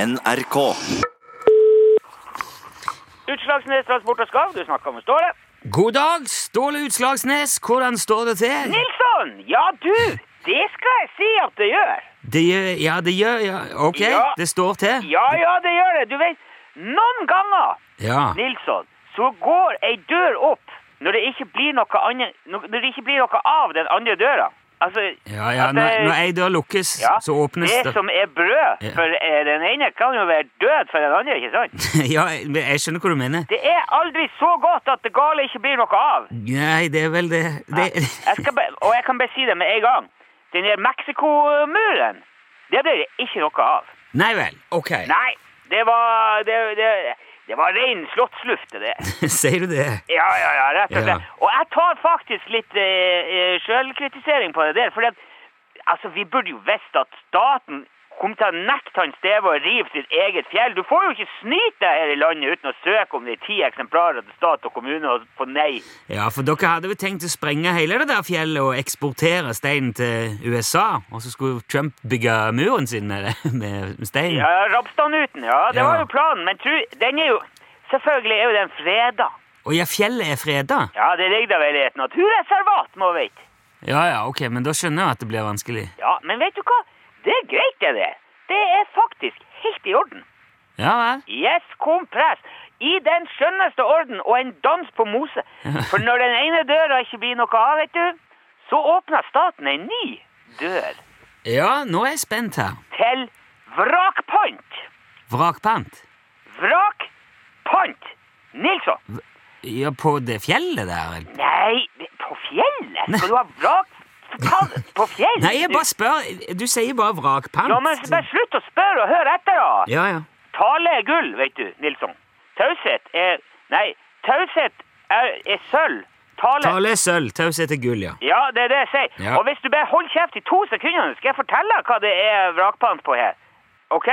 NRK. Utslagsnes Transport og Skav, du snakker med Ståle. God dag, Ståle Utslagsnes. Hvordan står det til? Nilsson! Ja, du! Det skal jeg si at det gjør. Det gjør, ja, det gjør ja. Ok, Ja. det står til. Ja, ja, det gjør det. Du vet, noen ganger, Ja. Nilsson, så går ei dør opp når det ikke blir noe, annet, når det ikke blir noe av den andre døra. Altså, Ja, ja, at når, det- når ei dør lukkes, ja, så åpnes det. det. som er brød Ja. for eh, den ene, kan jo være død for den andre, ikke sant? Ja, jeg, jeg skjønner hva du mener. Det er aldri så godt at det gale ikke blir noe av. Nei, det er vel det, det Jeg skal bare, og jeg kan bare si det med en gang. Den der Mexico-muren, det ble det ikke noe av. Nei vel. Ok. Nei, det var, det, det, det var ren slottsluft, det. Sier du det? Ja, ja, ja, rett og Ja. slett. Og jeg tar faktisk litt eh, eh, sjølkritisering på det der, fordi at, altså, vi burde jo visst at staten kom til å nekte han Steve å rive sitt eget fjell. Du får jo ikke snyte deg her i landet uten å søke om de ti eksemplarer til stat og kommune og få nei. Ja, for dere hadde jo tenkt å sprenge hele det der fjellet og eksportere steinen til USA, og så skulle Trump bygge muren sin med, det- med stein. Ja, Rapstanuten, ja, det Ja. var jo planen, men tru, den er jo, selvfølgelig er jo den freda. Og ja, fjellet er freda? Ja, det ligger da vel i et naturreservat, må vi vite. Ja, ja, ok, men da skjønner jeg at det blir vanskelig. Ja, men vet du hva? Det er greit, det der. Det er faktisk helt i orden. Ja vel? Yes, kompress. I den skjønneste orden og en dans på mose. For når den ene døra ikke blir noe av, vet du, så åpner staten en ny dør Ja, nå er jeg spent her. til vrakpant. Vrakpant? Vrakpant! Nilsson! Ja, på det fjellet der? eller? Nei, på fjellet? Skal du ha vrakpant på fjellet? Nei, jeg bare spør. Du sier bare vrakpant. Ja, men bare slutt å spørre og hør etter, da! Ja, ja. Tale er gull, vet du, Nilsson. Taushet er Nei, taushet er, er sølv. Tale Tale er sølv, taushet er gull, ja. Ja, det er det jeg sier. Ja. Og hvis du bare holder kjeft i to sekunder, skal jeg fortelle deg hva det er vrakpant på her. OK?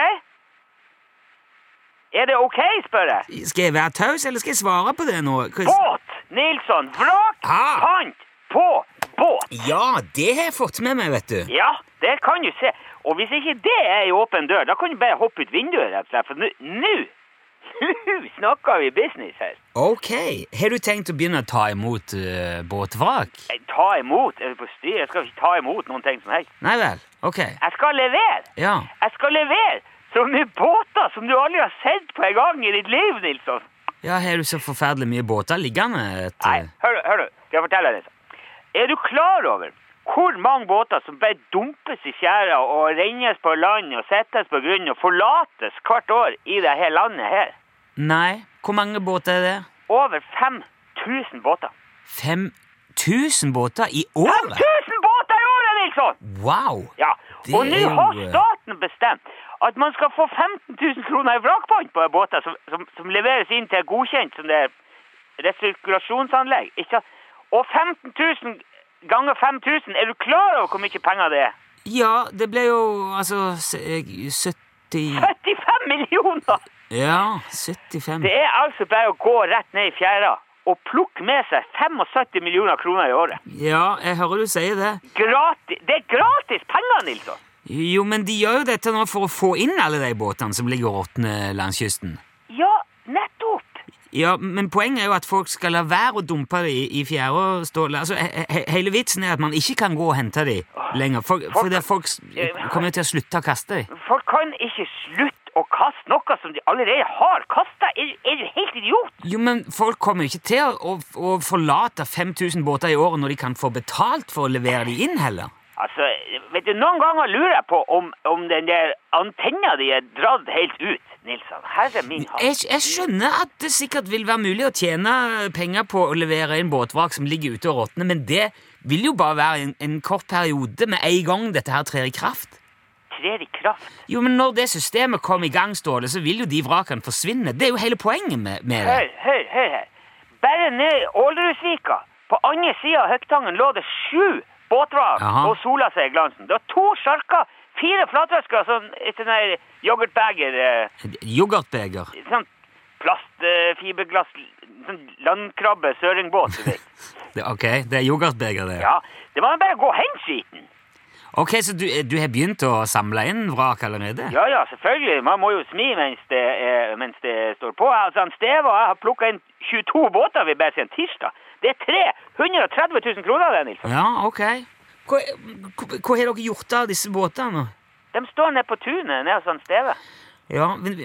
Er det OK, spør jeg. Skal jeg være taus, eller skal jeg svare på det nå? Hva- Båt! Nilsson, Ah. vrakpant på båt! Ja, det har jeg fått med meg, vet du. Ja, det kan du se. Og hvis ikke det er ei åpen dør, da kan du bare hoppe ut vinduet, rett og slett. For nå- nå Nå snakker vi business her. Ok. Har du tenkt å begynne å ta imot eh, båtvrak? Jeg ta imot? Er du på styr? Jeg skal ikke ta imot noen ting som helst. Nei vel. Ok. Jeg skal levere! Ja. Jeg skal levere så mye båter som du aldri har sett på en gang i ditt liv, Nilsson. Ja, har du så forferdelig mye båter liggende? Et, Nei, eh, hør, du- hør du, skal jeg fortelle deg Nilsson. Er du klar over hvor mange båter som bare dumpes i fjæra og rennes på land og settes på grunn og forlates hvert år i det her landet her? Nei. Hvor mange båter er det? Over 5000 båter. 5000 båter i året? 1000 båter i året, Nilsson! Wow! Ja, Det og nå er jo, har eh, staten bestemt at man skal få 15 000 kroner i vrakpant på båter som, som, som leveres inn til godkjent som det er resirkulasjonsanlegg. Ikke sant? Og 15 000 ganger 5000, er du klar over hvor mye penger det er? Ja, det ble jo altså s- eh, 70 75 millioner! Ja, 75 Det er altså bare å gå rett ned i fjæra og plukke med seg 75 millioner kroner i året. Ja, jeg hører du sier det. Gratis, det er gratis penger, Nilsson! Jo, men de gjør jo dette nå for å få inn alle de båtene som ligger og råtner langs kysten. Ja, nettopp! Ja, men poenget er jo at folk skal la være å dumpe dem i, i fjæra, Ståle. Altså, he he hele vitsen er at man ikke kan gå og hente dem lenger, for, for det er folk s- kommer jo til å slutte å kaste dem. Folk kan ikke slutte å kaste noe som de allerede har kasta. Er, er du helt idiot? Jo, men folk kommer jo ikke til å, å forlate 5000 båter i året når de kan få betalt for å levere dem inn, heller. Altså, vet du, Noen ganger lurer jeg på om, om den der antenna di er dratt helt ut, Nilsson. Herre min hatt. Jeg, jeg skjønner at det sikkert vil være mulig å tjene penger på å levere inn båtvrak som ligger ute og råtner, men det vil jo bare være en, en kort periode med en gang dette her trer i kraft. Trer i kraft. Jo, men når det systemet kommer i gang, Ståle, så vil jo de vrakene forsvinne. Det er jo hele poenget med, med det. Hør, hør, hør her. Bare ned i Ålerudsvika, på andre sida av Høgtangen, lå det sju båtvrak Jaha. og sola seg i glansen. Det var to sjarker, fire flatvæsker og sånn et sånn her yoghurtbeger eh, Yoghurtbeger. sånn plastfiberglass sånn landkrabbe søringbåt, du vet. Det, ok, det er yoghurtbeger, det. Ja, det var bare å gå og hente skiten. Ok, Så du, du har begynt å samle inn vrak allerede? Ja, ja, selvfølgelig. Man må jo smi mens det, eh, mens det står på. Altså, han Steve og jeg har plukka inn 22 båter ved bare siden tirsdag. Det er tre! 130 000 kroner, det, Nils. Ja, ok. Hva, hva, hva har dere gjort av disse båtene? De står nede på tunet nede hos han Steve. Ja, men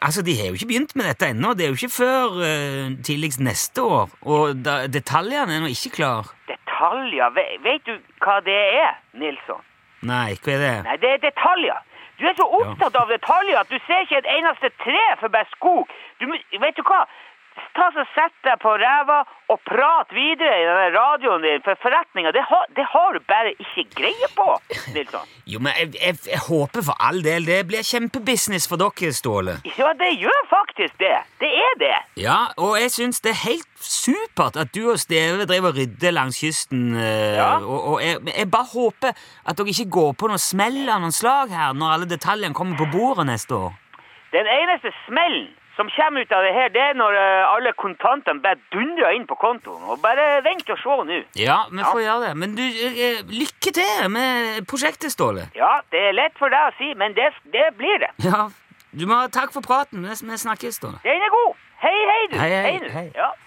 altså, De har jo ikke begynt med dette ennå. Det er jo ikke før eh, tidligst neste år. Og da, detaljene er nå ikke klar. Detaljer Ve- Vet du hva det er, Nilsson? Nei, hva er det? Nei, det er detaljer. Du er så opptatt av detaljer at du ser ikke et eneste tre for bare skog. Du, må- vet du hva? Ta så Sett deg på ræva og prat videre i denne radioen din, for forretninga, det, har- det har du bare ikke greie på, Nilsson. Jo, men jeg, jeg, jeg håper for all del det blir kjempebusiness for dere, Ståle. Ja, det gjør faktisk det. Det er det. Ja, og jeg syns det er helt supert at du og Steve driver og rydder langs kysten. eh, Ja. Og, og jeg, men jeg bare håper at dere ikke går på noe smell av noen slag her når alle detaljene kommer på bordet neste år. Den eneste smellen som kommer ut av det her, det er når eh, alle kontantene bare dundrer inn på kontoen. Og bare vent og se nå. Ja, vi Ja. får gjøre det. Men du, eh, lykke til med prosjektet, Ståle. Ja, det er lett for deg å si, men det, det blir det. Ja, du må ha takk for praten. Vi vi snakkes, Ståle. Den er god. Hei, hei, du. Hei, hei, du. hei. Ja.